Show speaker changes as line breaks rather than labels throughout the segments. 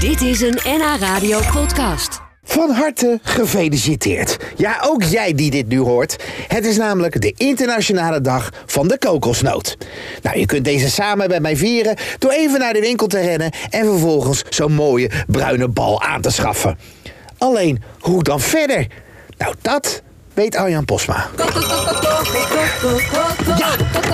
Dit is een NH Radio podcast.
Van harte gefeliciteerd. Ja, ook jij die dit nu hoort. Het is namelijk de internationale dag van de kokosnoot. Nou, je kunt deze samen met mij vieren door even naar de winkel te rennen en vervolgens zo'n mooie bruine bal aan te schaffen. Alleen, hoe dan verder? Nou, dat weet Arjan Posma. Ja,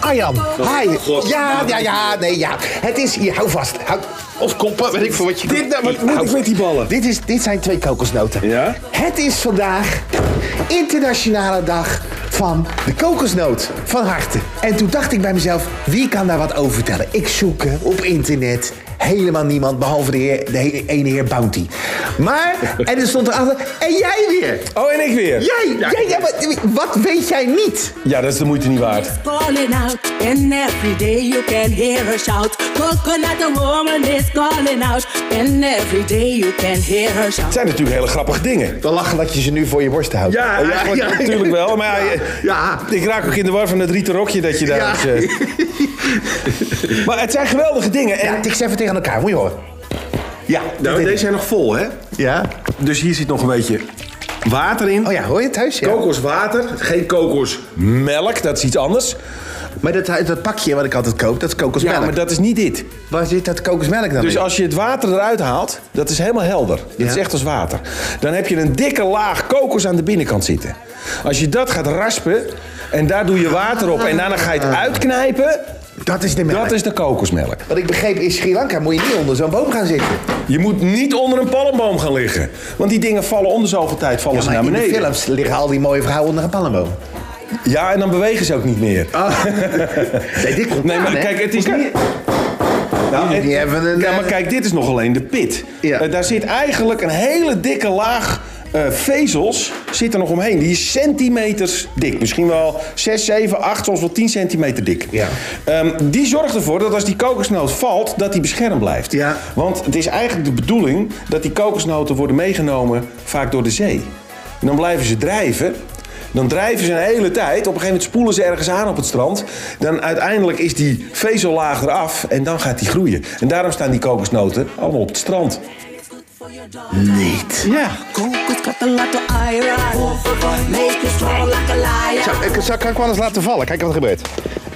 Arjan. Hi. Ja, ja, ja, nee, ja. Het is hier, hou vast. Hou, of koppen, weet ik voor wat je
Dit nou, wat moet ik met die ballen?
dit, is, dit zijn twee kokosnoten.
Ja?
Het is vandaag internationale dag van de kokosnoot. Van harte. En toen dacht ik bij mezelf, wie kan daar wat over vertellen? Ik zoek eh, op internet helemaal niemand behalve de, heer, de he- ene heer Bounty. Maar, en er stond erachter, en jij weer.
Oh, en ik weer.
Jij, jij, ja, maar wat weet jij niet?
Ja, dat is de moeite niet waard.
calling out, and every day you can hear her shout. Coconut the woman is calling out, and every day you can hear her shout.
Het zijn natuurlijk hele grappige dingen.
Wel lachen dat je ze nu voor je borst houdt.
Ja, eigenlijk natuurlijk wel. Maar ja, je-
Ja.
ik raak ook in de war van het rieten rokje dat je daar...
Ja.
hebt, eh. maar het zijn geweldige dingen. En,
Ja, tik ze even tegen elkaar, moet je horen. Ja, dat
nou,
deed
deze
ik.
zijn nog vol, hè?
Ja.
Dus hier zit nog een beetje water in.
Oh ja, hoor je het thuis? Ja.
Kokoswater, geen kokosmelk, dat is iets anders.
Maar dat, dat pakje wat ik altijd koop, dat is kokosmelk.
Ja, maar dat is niet dit.
Waar zit dat kokosmelk dan
Dus
in?
als je het water eruit haalt, dat is helemaal helder. Dat
Ja.
is echt als water. Dan heb je een dikke laag kokos aan de binnenkant zitten. Als je dat gaat raspen en daar doe je water op en daarna ga je het
Ah.
uitknijpen,
Dat is de melk.
dat is de kokosmelk.
Wat ik begreep, in Sri Lanka moet je niet onder zo'n boom gaan zitten.
Je moet niet onder een palmboom gaan liggen. Want die dingen vallen om de zoveel tijd vallen
Ja,
ze
maar
naar
in de
beneden.
films liggen al die mooie vrouwen onder een palmboom.
Ja, en dan bewegen ze ook niet meer.
Nee, dit komt
Ah. Nee,
aan,
maar
hè?
kijk, het is niet... Nou,
Die hebben een,
ja, maar
eh,
kijk, dit is nog alleen de pit.
Ja.
Eh, daar zit eigenlijk een hele dikke laag eh, vezels zit er nog omheen. Die is centimeters dik. Misschien wel 6, 7, 8, soms wel 10 centimeter dik.
Ja.
Ehm, die zorgt ervoor dat als die kokosnoot valt, dat die beschermd blijft.
Ja.
Want het is eigenlijk de bedoeling dat die kokosnoten worden meegenomen vaak door de zee. En dan blijven ze drijven. Dan drijven ze een hele tijd. Op een gegeven moment spoelen ze ergens aan op het strand. Dan uiteindelijk is die vezellaag eraf en dan gaat die groeien. En daarom staan die kokosnoten allemaal op het strand.
Niet.
Ja.
Coconut got a lot of iron, make you strong like a lion.
Zo, ik, zou, kan ik wel eens laten vallen? Kijk wat er gebeurt.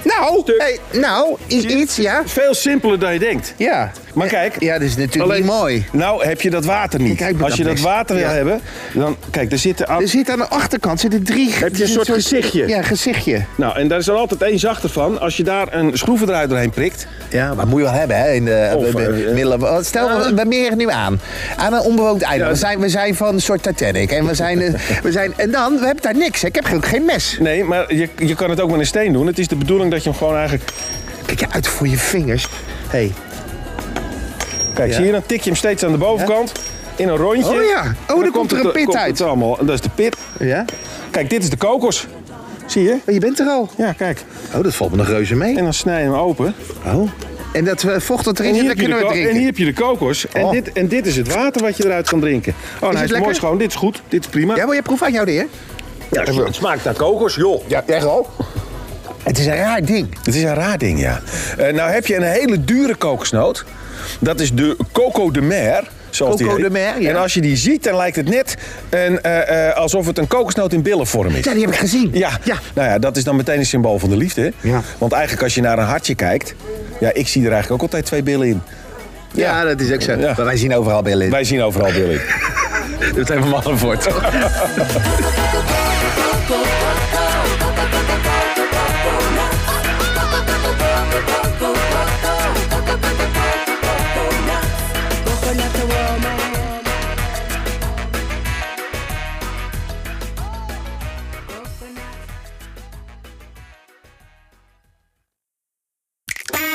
Nou, hey, nou, i- iets, ja.
Veel simpeler dan je denkt.
Ja.
Maar kijk.
Ja, dit is natuurlijk
alleen-
niet mooi.
Nou heb je dat water niet.
Kijk, maar
Als je
dat
dat
best.
water wil
Ja.
hebben, dan... Kijk, daar zitten... aan-
Er zit aan de achterkant zitten drie...
je een soort gezichtje?
Ja, gezichtje.
Nou, en daar is er altijd één zachter van. Als je daar een schroevendraaier doorheen prikt...
Ja, maar moet je wel hebben, hè? In de,
Of,
bij- bij-
eh,
middelen- want stel, we- we meren nu aan. Aan een onbewoond eiland.
Ja.
We, zijn, we zijn van een soort Titanic. En, we zijn, eh, we zijn, en dan, we hebben daar niks. Hè? Ik heb ook geen mes.
Nee, maar je, je kan het ook met een steen doen. Het is de bedoeling dat je hem gewoon eigenlijk...
Kijk je uit voor je vingers. Hey.
Kijk,
Ja.
zie je, dan tik je hem steeds aan de bovenkant. In een rondje.
Oh ja. Oh, dan komt er een
het-
pit
komt
uit.
Het allemaal. En dat is de pit.
Ja?
Kijk, dit is de kokos. Zie je?
Maar je bent er al.
Ja, kijk.
Oh, dat valt me nog reuze mee.
En dan snij je hem open.
Oh. En dat eh, vocht dat
En
erin
hier,
zit,
heb
dat
je
kunnen
de
we
ko- en hier
drinken.
heb je de kokos. En,
Oh.
dit, en dit is het water wat je eruit kan drinken. Oh, nou, hij is
lekker?
mooi schoon. Dit is goed. Dit is prima.
Ja, wil je proeven aan jou, de heer?
het smaakt naar kokos, joh.
Ja, echt al. Het is een raar ding.
Het is een raar ding, ja. Eh, nou heb je een hele dure kokosnoot. Dat is de Coco de Mer. Zoals die
Coco
heet.
de Mer, ja.
En als je die ziet, dan lijkt het net een, eh, eh, alsof het een kokosnoot in billenvorm is.
Ja, die heb ik gezien.
Ja.
Ja.
nou ja, dat is dan meteen een symbool van de liefde. hè?
Ja.
Want eigenlijk als je naar een hartje kijkt, ja, ik zie er eigenlijk ook altijd twee billen in.
Ja, dat is ook zo.
Ja.
Maar wij zien overal billen.
Wij zien overal billen in.
Het zijn van Mallenvoort.
Coconut the woman.